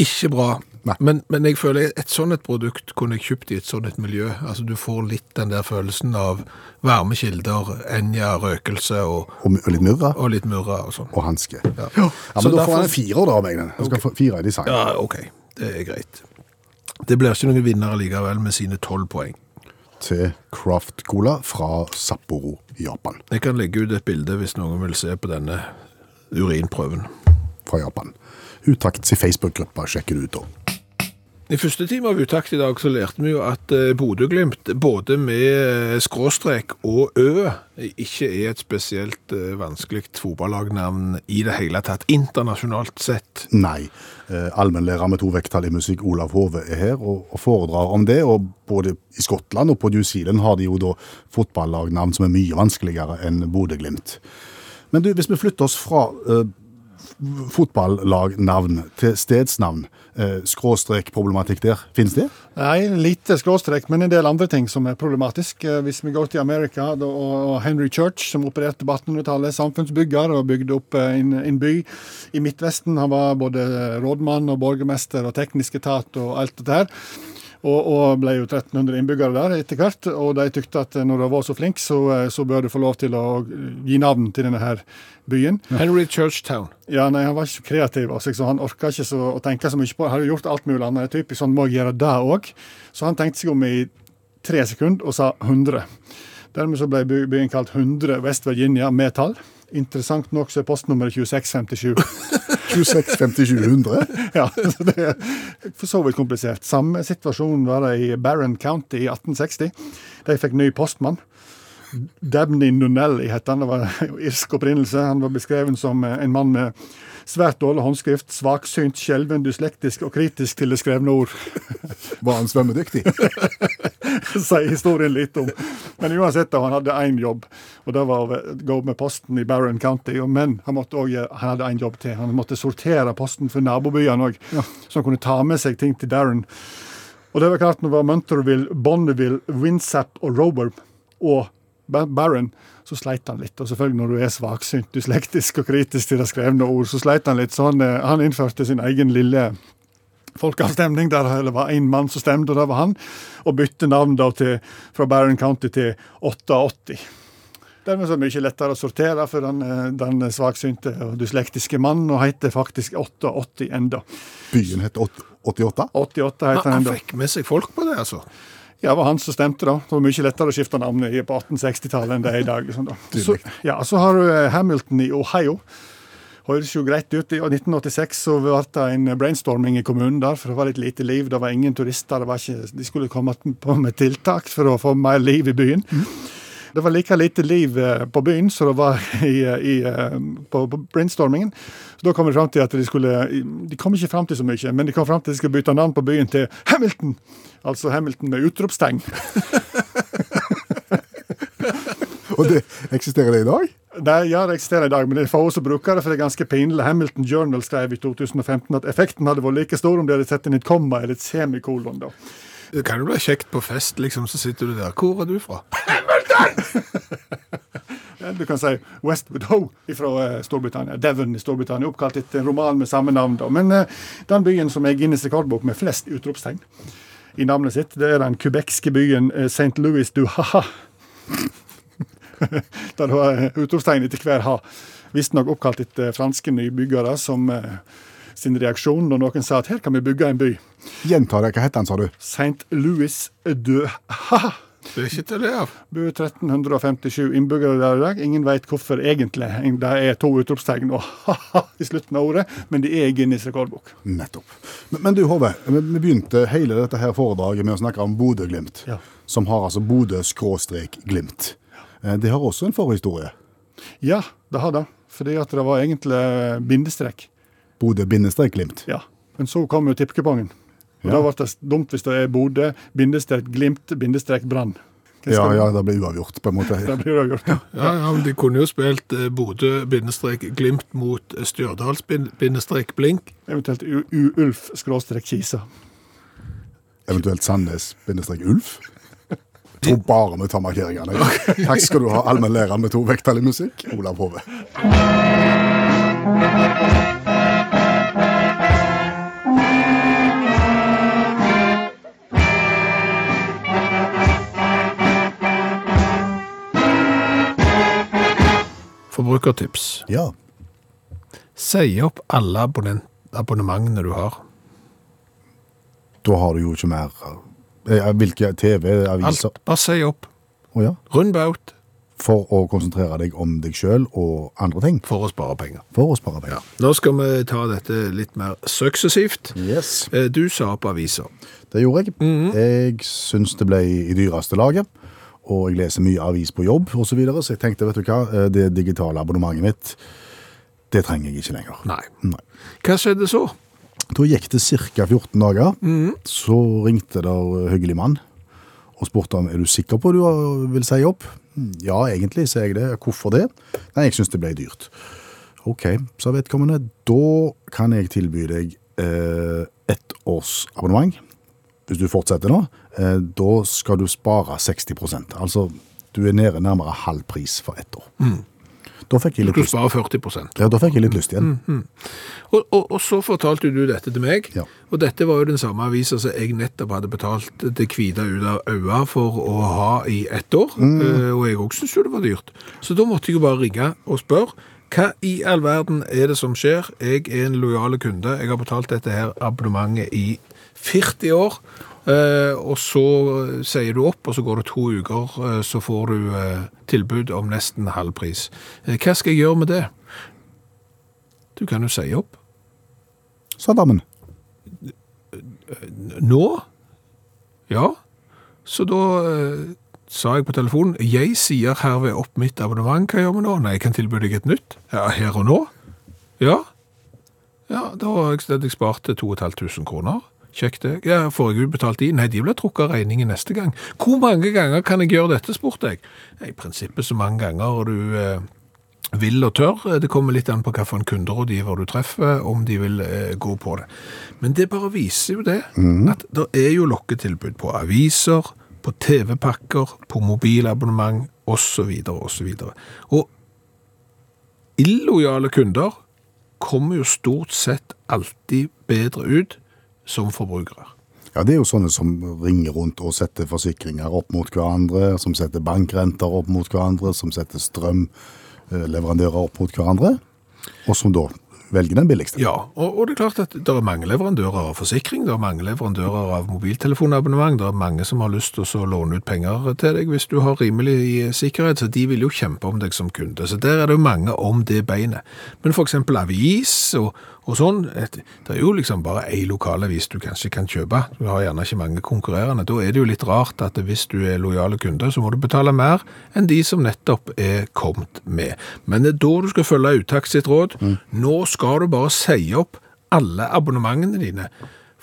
Ikke bra. Nei. Men, men jeg føler et sånn et produkt kunne jeg kjøpt i et sånn et miljø. Altså Du får litt den der følelsen av varme kilder, enja, røkelse og, Og, my- og litt murra og litt murra og sånn. og hanske. Ja. Så men da får derfor- han en firer, da, av meg. den. Han skal få fire i design. Ja, OK. Det er greit. Det blir ikke noen vinner likevel med sine tolv poeng. Til Craft Cola fra Sapporo, Japan. Jeg kan legge ut et bilde hvis noen vil se på denne urinprøven. Fra Japan. Utakts i Facebook-gruppa, sjekk det ut, da. I første time av Utakt i dag så lærte vi jo at eh, Bodø-Glimt, både med eh, skråstrek og Ø, ikke er et spesielt eh, vanskelig fotballagnavn i det hele tatt, internasjonalt sett. Nei. Eh, Allmennlærer med to vekttall i musikk, Olav Hove, er her og, og foredrar om det. Og både i Skottland og på New Zealand har de jo da fotballagnavn som er mye vanskeligere enn Bodø-Glimt. Men du, hvis vi flytter oss fra eh, fotballagnavn til stedsnavn. Eh, Skråstrekproblematikk der. Fins det? Nei, lite skråstrek, men en del andre ting som er problematisk. Eh, Hvis vi går til Amerika da, og og Henry Church, som opererte på 1800-tallet, samfunnsbygger og bygde opp eh, en, en by i Midtvesten. Han var både rådmann og borgermester og teknisk etat og alt dette her. Og, og ble jo 1300 innbyggere der etter hvert, og de tykte at eh, når du var så flink, så, eh, så bør du få lov til å gi navn til denne her byen. Henry Churchtown. Ja, nei, Han var ikke så kreativ, altså, så han orka ikke så, å tenke så mye på det. Han hadde gjort alt mulig annet. Typisk sånn, må jeg gjøre det òg? Så han tenkte seg om i tre sekunder og sa 100. Dermed så ble by- byen kalt 100 West Virginia med tall. Interessant nok så er postnummeret 2657. 26, 50, 100? Ja, så det er for så vidt komplisert. Samme situasjon var det i Barron County i 1860. De fikk ny postmann. Dabney Nunnelly het han. Det var irsk opprinnelse. Han var beskreven som en mann med svært dårlig håndskrift, svaksynt, skjelven, dyslektisk og kritisk til det skrevne ord. Var han svømmedyktig? sier historien litt om. Men uansett, da, han hadde én jobb, og det var å gå med posten i Barron County. og- Men han, måtte også, gjøre- han hadde en jobb til. Han måtte sortere posten for nabobyene òg, så han kunne ta med seg ting til Darren. Og det var klart, når det var Munterville, Bonneville, Winsap og Rober og Ba- Barron, så sleit han litt. Og selvfølgelig, når du er svaksynt, dyslektisk og kritisk til det skrevne ord, så sleit han litt. Så han, eh, han innførte sin egen lille folkeavstemning der det var én mann som stemte, og det var han. Og bytte navn da til, fra Barron County til 88. Dermed så er det mye lettere å sortere for den, eh, den svaksynte og dyslektiske mannen, og heter faktisk 88 enda. Byen het åt- 88. 88 heter han Han enda. fikk med seg folk på det, altså. Ja, det var han som stemte, da. Det var mye lettere å skifte navn i- på 1860-tallet enn det er i dag. Liksom, da. Så, ja, så har du eh, Hamilton i Ohio. Høres jo greit ut. I 1986 så ble det en brainstorming i kommunen der, for det var litt lite liv. Det var ingen turister. Det var ikke, de skulle komme på med tiltak for å få mer liv i byen. Det var like lite liv eh, på byen som det var i, eh, i, eh, på, på brainstormingen. Så da kom de fram til at de skulle De kom ikke fram til så mye, men de kom fram til at de skulle bytte navn på byen til Hamilton! Altså Hamilton med utropstegn. Og det eksisterer det i dag? Nei, ja, det eksisterer i dag, men det er få som bruker det, for det er ganske pinlig. Hamilton Journal skrev i 2015 at effekten hadde vært like stor om de hadde satt inn et komma eller et semikolon. da. Det kan jo bli kjekt på fest, liksom, så sitter du der. Hvor er du fra? Ja, Eh, Du kan si Westwood Ho fra Storbritannia. Devon i Storbritannia, oppkalt etter en roman med samme navn. da. Men eh, den byen som er Guinness rekordbok med flest utropstegn i navnet sitt, det er den kubekske byen eh, St. Louis du ha-ha. Der du har eh, utropstegn etter hver ha. Visstnok oppkalt etter franske nybyggere som eh, sin reaksjon når noen sa at her kan vi bygge en by. Gjenta det. Hva het han, sa du? St. Louis du ha-ha. Det er ikke til det av. Det bor 1357 innbyggere der i dag. Ingen vet hvorfor egentlig. Det er to utropstegn og ha-ha i slutten av ordet, men de er i Guinness rekordbok. Nettopp. Men, men du, Hove, vi vi begynte hele dette her foredraget med å snakke om Bodø-Glimt. Ja. Som har altså Bodø-Glimt. Eh, Det har også en forhistorie. Ja, det har det. Fordi at det var egentlig bindestrek. Bodø-Glimt. Ja. Men så kom jo tippekupongen. Og Ja. Da ble det dumt hvis det er Bodø, bindestrek Glimt, bindestrek Brann. Hva Ja, skal ja, du- det ble uavgjort, på en måte. Det blir det gjort. Ja, ja, men De kunne jo spilt eh, Bodø-Glimt mot eh, Stjørdals-Blink. Eventuelt U- U-Ulf skråstrek Kisa. Eventuelt Sandnes-Ulf. Tror bare vi tar markeringene. Takk skal du ha, allmennlæreren med to vekttall i musikk, Olav Hove. Forbrukertips. Ja. Si opp alle abonnent- abonnementene du har. Da har du jo ikke mer eh, Hvilke Alt. TV-aviser Bare si opp. Å ja. Rund baut For å konsentrere deg om deg sjøl og andre ting. for å spare penger. For å spare penger. Nå skal vi ta dette litt mer suksessivt. Yes. Eh, Du sa opp aviser. Det gjorde jeg. Jeg syns det ble i dyreste laget. Og jeg leser mye avis på jobb osv., så, videre, så jeg tenkte vet du hva, eh, det digitale abonnementet mitt det trenger jeg ikke lenger. Nei. Hva skjedde så? Da gikk det ca. 14 dager. Så ringte der eh, hyggelig mann og spurte om er du sikker på du Mm, har- vil si opp. Ja, egentlig sier jeg det. Hvorfor det? Nei, jeg syns det ble dyrt. Ok, sa vedkommende. Da kan jeg tilby deg eh, ett års abonnement. Hvis du fortsetter nå, eh, da skal du spare 60 Altså, du er nede nærmere halv pris for ett år. Da, fikk Du jeg litt lyst. sparer 40 Ja, da fikk jeg litt lyst igjen. Og, og, og så fortalte du dette til meg, Ja. og dette var jo den samme avisa som jeg nettopp hadde betalt det hvite ut av øya for å ha i ett år, eh, og jeg òg syntes jo det var dyrt. Så da måtte jeg jo bare ringe og spørre. Hva i all verden er det som skjer? Jeg er en lojal kunde. Jeg har betalt dette her abonnementet i 40 år. eh, og så eh, sier du opp, og så går det to uker, eh, så får du eh, tilbud om nesten halv pris. Eh, hva skal jeg gjøre med det? Du kan jo si opp. Sa damen. Nå? Ja. Så da eh, sa jeg på telefonen Jeg sier herved opp mitt abonnement. Hva gjør vi nå? Nei, jeg kan tilby deg et nytt. Ja, Her og nå? Ja. Ja, Da har jeg, da hadde jeg spart 2500 kroner. Kjekt det. Ja, Får jeg utbetalt de? Nei, de blir trukket av regningen neste gang. Hvor mange ganger kan jeg gjøre dette, spurte jeg. Ja, I prinsippet så mange ganger og du eh, vil og tør. Det kommer litt an på hvilke kunderådgiver du treffer, om de vil eh, gå på det. Men det bare viser jo det, at det er jo lokketilbud på aviser, på TV-pakker, på mobilabonnement osv. osv. Og illojale kunder kommer jo stort sett alltid bedre ut som forbrukere. Ja, det er jo sånne som ringer rundt og setter forsikringer opp mot hverandre, som setter bankrenter opp mot hverandre, som setter strømleverandører opp mot hverandre, og som da velger den billigste. Ja, og, og det er klart at det er mange leverandører av forsikring, det er mange leverandører av mobiltelefonabonnement, det er mange som har lyst til å låne ut penger til deg hvis du har rimelig eh, sikkerhet, så de vil jo kjempe om deg som kunde. Så der er det jo mange om det beinet. Men for eksempel avis og, og sånn, et, det er jo liksom bare ei lokalavis du kanskje kan kjøpe. Du har gjerne ikke mange konkurrerende. Da er det jo litt rart at hvis du er lojale kunde, så må du betale mer enn de som nettopp er kommet med. Men det er da du skal følge Utakt sitt råd. Nå skal du bare si opp alle abonnementene dine.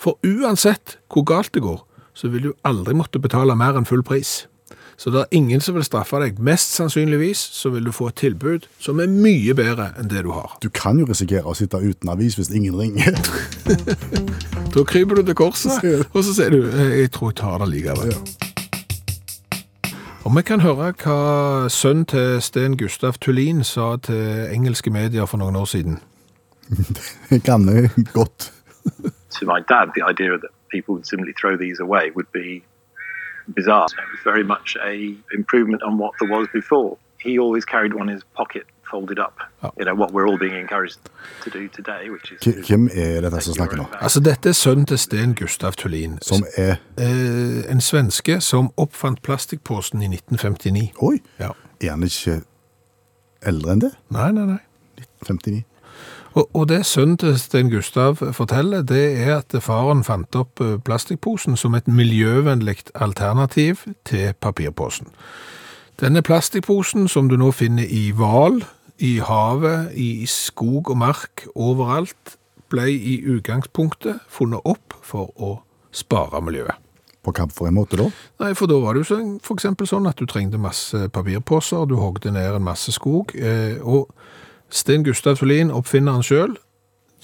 For uansett hvor galt det går, så vil du aldri måtte betale mer enn full pris. Så det er ingen som vil straffe deg. Mest sannsynligvis så vil du få et tilbud som er mye bedre enn det du har. Du kan jo risikere å sitte uten avis hvis ingen ringer. Da kryper du til korset, og så sier du «Eh, 'jeg tror jeg tar det likevel'. Og vi kan høre hva sønnen til Sten Gustav Tullin sa til engelske medier for noen år siden. Jeg kan det godt. to my dad, the idea that people would simply throw these away would be bizarre. It was very much a improvement on what there was before. He always carried one in his pocket, folded up. You know what we're all being encouraged to do today, which is K- Hvem er dette som take your snakker own nå? bag. Altså, dette er sønnen til Sten Gustav Tullin, Som er eh, en svenske som oppfant plastikkposen i 1959. Oi, Ja. er han ikke eldre enn det? Nei, nei, nei. 59? Og, og det sønnen til Sten Gustav forteller, det er at faren fant opp eh, plastikkposen som et miljøvennlig alternativ til papirposen. Denne plastikkposen som du nå finner i hval, i havet, i skog og mark, overalt, ble i utgangspunktet funnet opp for å spare miljøet. På hva for en måte, da? Nei, for da var det jo sånn- for eksempel sånn at du trengte masse papirposer, du hogde ned en masse skog, eh, og Sten Gustav Thulin, oppfinneren selv,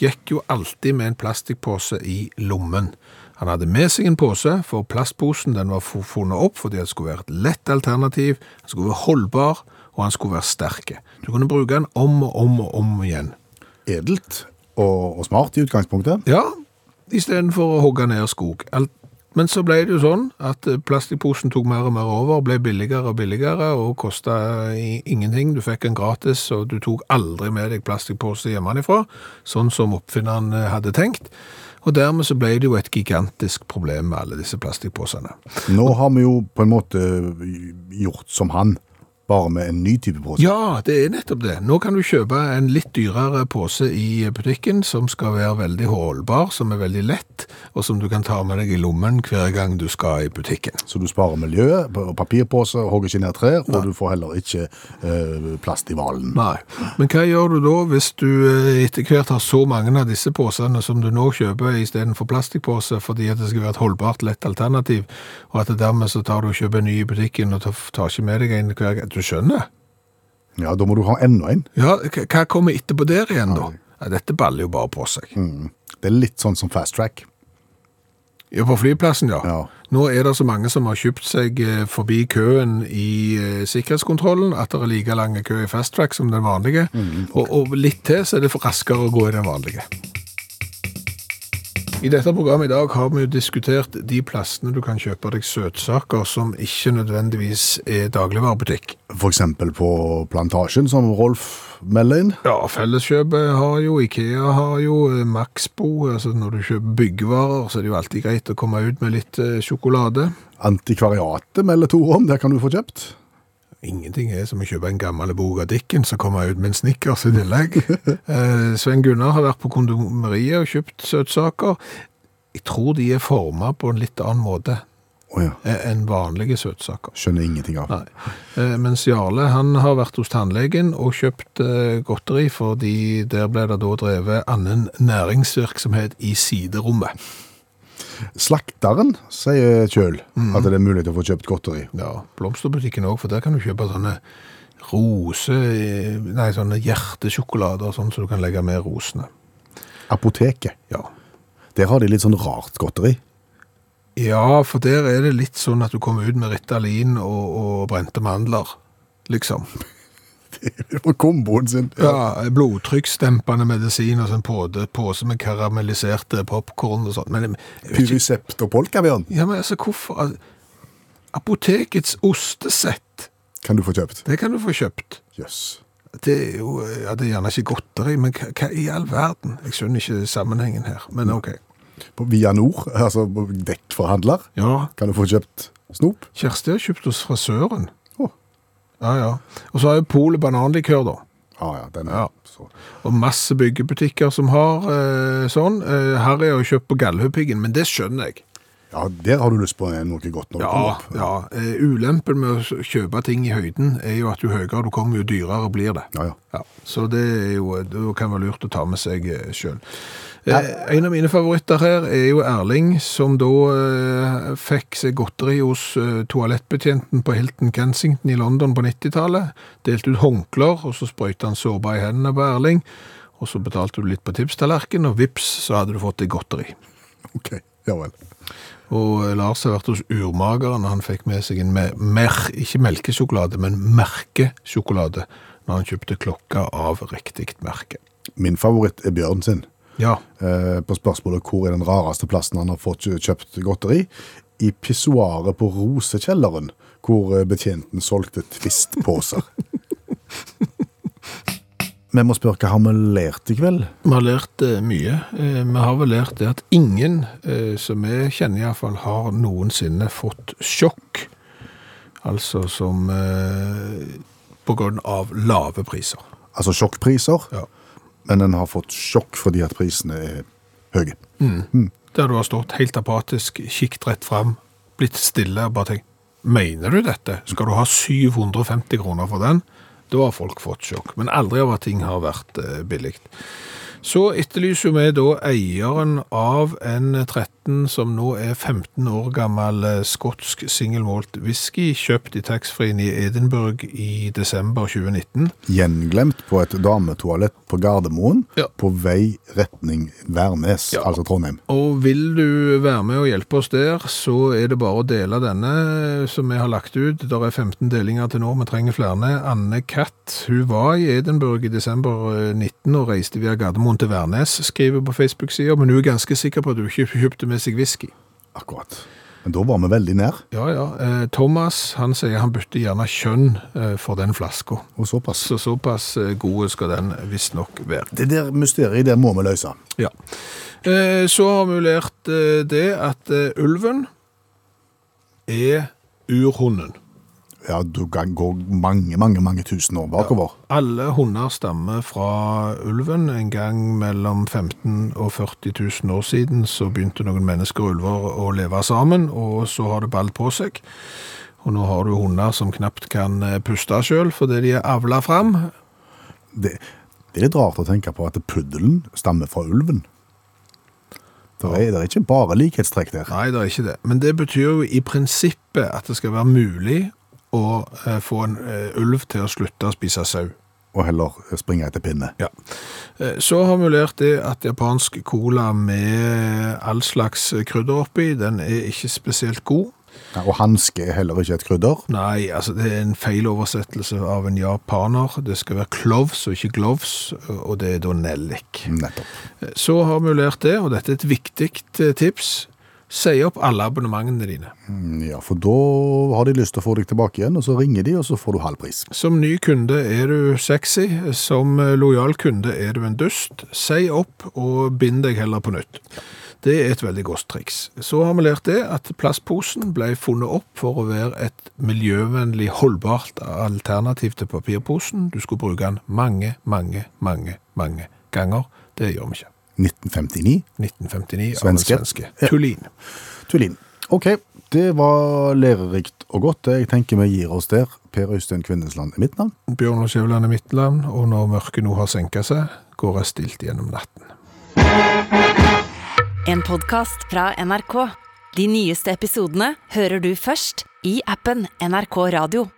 gikk jo alltid med en plastikkpose i lommen. Han hadde med seg en pose, for plastposen den var fu- funnet opp fordi det skulle være et lett alternativ, den skulle være holdbar, og han skulle være sterke. Du kunne bruke den om og om og om igjen. Edelt og, og smart i utgangspunktet. Ja, istedenfor å hogge ned skog. Alt- Men så ble det jo sånn at eh, plastikkposen tok mer og mer over, ble billigere og billigere og kosta i- ingenting. Du fikk en gratis, og du tok aldri med deg plastikkpose hjemmefra, sånn som oppfinneren eh, hadde tenkt. Og dermed så ble det jo et gigantisk problem med alle disse plastikkposene. Nå har vi jo på en måte gjort som han, bare med en ny type pose. Ja, det er nettopp det. Nå kan du kjøpe en litt dyrere pose i butikken som skal være veldig holdbar, som er veldig lett, og som du kan ta med deg i lommen hver gang du skal i butikken. Så du sparer miljøet, p- og papirpose, hogger ikke ned trær, og du får heller ikke eh, plast i hvalen. Nei. Men hva gjør du da hvis du eh, etter hvert har så mange av disse posene som du nå kjøper istedenfor plastikkpose fordi at det skal være et holdbart, lett alternativ, og at det dermed så tar du og kjøper en ny i butikken og tar tar ikke med deg en hver gang? Du skjønner? Ja, da må du ha enda en. Ja, h- hva kommer etterpå der igjen, da? Ja, dette baller jo bare på seg. Det er litt sånn som fast track. Ja, på flyplassen, ja. Ja. Nå er det så mange som har kjøpt seg eh, forbi køen i eh, sikkerhetskontrollen, at det er like lang kø i fast track som den vanlige, og, og litt til så er det for raskere å gå i den vanlige. I dette programmet i dag har vi jo diskutert de plassene du kan kjøpe deg søtsaker som ikke nødvendigvis er dagligvarerbutikk. For eksempel på Plantasjen, som Rolf melder inn. Ja, Felleskjøpet har jo, Ikea har jo, eh, Maxbo, altså når du kjøper byggevarer, så er det jo alltid greit å komme ut med litt eh, sjokolade. Antikvariatet melder Tore om, der kan du få kjøpt. Ingenting er som å kjøpe en gammel bok av Dickens og komme ut med en snickers i tillegg. Eh, Sven Gunnar har vært på kondomeriet og kjøpt søtsaker. Jeg tror de er forma på en litt annen måte Å ja, eh, enn vanlige søtsaker. skjønner ingenting av. Nei. Eh, Mens Jarle han har vært hos tannlegen og kjøpt eh, godteri, fordi der ble det da drevet annen næringsvirksomhet i siderommet. Slakteren sier kjøl Mhm. at det er mulig å få kjøpt godteri. Ja, blomsterbutikken òg, for der kan du kjøpe sånne rose... eh, Nei, sånne hjertesjokolader og sånn, så du kan legge med rosene. Apoteket, Ja. der har de litt sånn rart godteri. ja, for der er det litt sånn at du kommer ut med Ritalin og, og brente mandler, liksom. På komboen sin. Ja, Blodtrykksdempende medisin og sånn påde- pose med karamelliserte popkorn og sånn. Men jeg vet ikke- Pyrisept og polkabjørn ja, men altså, hvorfor al- Apotekets ostesett, kan du få kjøpt. det kan du få kjøpt. Jøss. Det er jo ja, det er gjerne ikke godteri, men hva, hva i all verden? Jeg skjønner ikke sammenhengen her, men ok. På Via Nord, altså dekkforhandler, Ja, kan du få kjøpt snop. Kjersti har kjøpt hos frisøren. Å. Ja, ja. Og så har jo Polet bananlikør, da. Ah, ja, den Ja. er så. Og masse byggebutikker som har eh, sånn. Eh, Harry har jo kjøpt på Gallhøpiggen, men det skjønner jeg. Ja, der har du lyst på noe godt når du Ja, kommer opp. ja. Eh, ulempen med å s- kjøpe ting i høyden er jo at jo høyere du kommer, jo dyrere blir det. Ja, ja. Ja, så det, er jo, det kan være lurt å ta med seg eh, selv. Eh, en av mine favoritter her er jo Erling, som da eh, fikk seg godteri hos eh, toalettbetjenten på Hilton Kensington i London på 90-tallet. Delte ut håndklær, og så sprøyte han sårbar i hendene på Erling. Og så betalte du litt på tipstallerken, og vips, så hadde du fått deg godteri. Ok, ja vel. Og eh, Lars har vært hos urmageren, og han fikk med seg en mer, mer ikke melkesjokolade, men merkesjokolade, når han kjøpte klokka av riktig merke. Min favoritt er Bjørn sin. Ja, Eh, på spørsmålet hvor er den rareste plassen han har fått kjøpt godteri. I pissoaret på Rosekjelleren, hvor eh, betjenten solgte Twist-poser. Vi må spørre hva har vi lært i kveld? vi har lært eh, mye. Eh, Vi har vel lært det at ingen, eh, som vi kjenner iallfall, har noensinne fått sjokk. Altså som eh, på grunn av lave priser. Altså sjokkpriser, Ja. men en har fått sjokk fordi at prisene er høye. Der du har stått helt apatisk, kikket rett fram, blitt stille og bare tenkt Mener du dette? Skal du ha 750 kroner for den? Da har folk fått sjokk. Men aldri av at ting har vært eh, billig. Så etterlyser vi da eieren av en 13 som nå er 15 år gammel eh, skotsk singelmålt whisky, kjøpt i taxfree-en i Edinburgh i desember 2019. Gjenglemt på et dametoalett på Gardermoen, Ja. på vei retning Værnes, Ja. altså Trondheim. Og vil du være med og hjelpe oss der, så er det bare å dele denne som vi har lagt ut. Det er 15 delinger til nå, vi trenger flere. Anne Katt, hun var i Edinburgh i desember eh, 19 og reiste via Gardermoen til Værnes, skriver på Facebook-sida, men hun er ganske sikker på at hun ikke kjøpte med seg whisky. Akkurat. Men da var vi veldig nær, Ja, ja. Eh, Thomas, han sier han bytter gjerne kjønn eh, for den flaska. og såpass. Så såpass eh, god skal den visstnok være. Det der mysteriet, det må vi løse. Ja. Eh, Så har vi lært eh, det at eh, ulven er urhunden. Ja, du kan gå mange, mange, mange tusen år bakover. Alle hunder stammer fra ulven. En gang mellom 15 og 40 000 år siden så begynte noen mennesker og ulver å leve sammen, og så har det ball på seg. Og nå har du hunder som knapt kan eh, puste sjøl fordi de er avla fram. Det, det er litt rart å tenke på at puddelen stammer fra ulven. Det er, det er ikke bare likhetstrekk der. Nei, det er ikke det. Men det betyr jo i prinsippet at det skal være mulig å eh, få en eh, ulv til å slutte å spise sau. og heller springe etter pinne. Ja. Eh, Så har vi lært det at japansk cola med all slags krydder oppi, den er ikke spesielt god. Ja, og hanske er heller ikke et krydder. Nei, altså det er en feiloversettelse av en japaner. Det skal være cloves og ikke gloves, og det er da nellik. Eh, Nettopp. Så har vi lært det, og dette er et viktig eh, tips. Si opp alle abonnementene dine. Mm, Ja, for da har de lyst til å få deg tilbake igjen, og så ringer de, og så får du halv pris. Som ny kunde er du sexy, som eh, lojal kunde er du en dust. Si opp og bind deg heller på nytt. Det er et veldig godt triks. Så har vi lært det at plastposen ble funnet opp for å være et miljøvennlig holdbart alternativ til papirposen. Du skulle bruke den mange, mange, mange, mange ganger. Det gjør vi ikke. 1959. 1959 Svenske. av den svenske Ja. Tulin. Tullin. Ok, det var lærerikt og godt. Jeg tenker vi gir oss der. Per Øystein Kvindesland er mitt navn. Bjørn og Skjævland er mitt land, og når mørket nå har senket seg, går jeg stilt gjennom natten. En podkast fra NRK. De nyeste episodene hører du først i appen NRK Radio.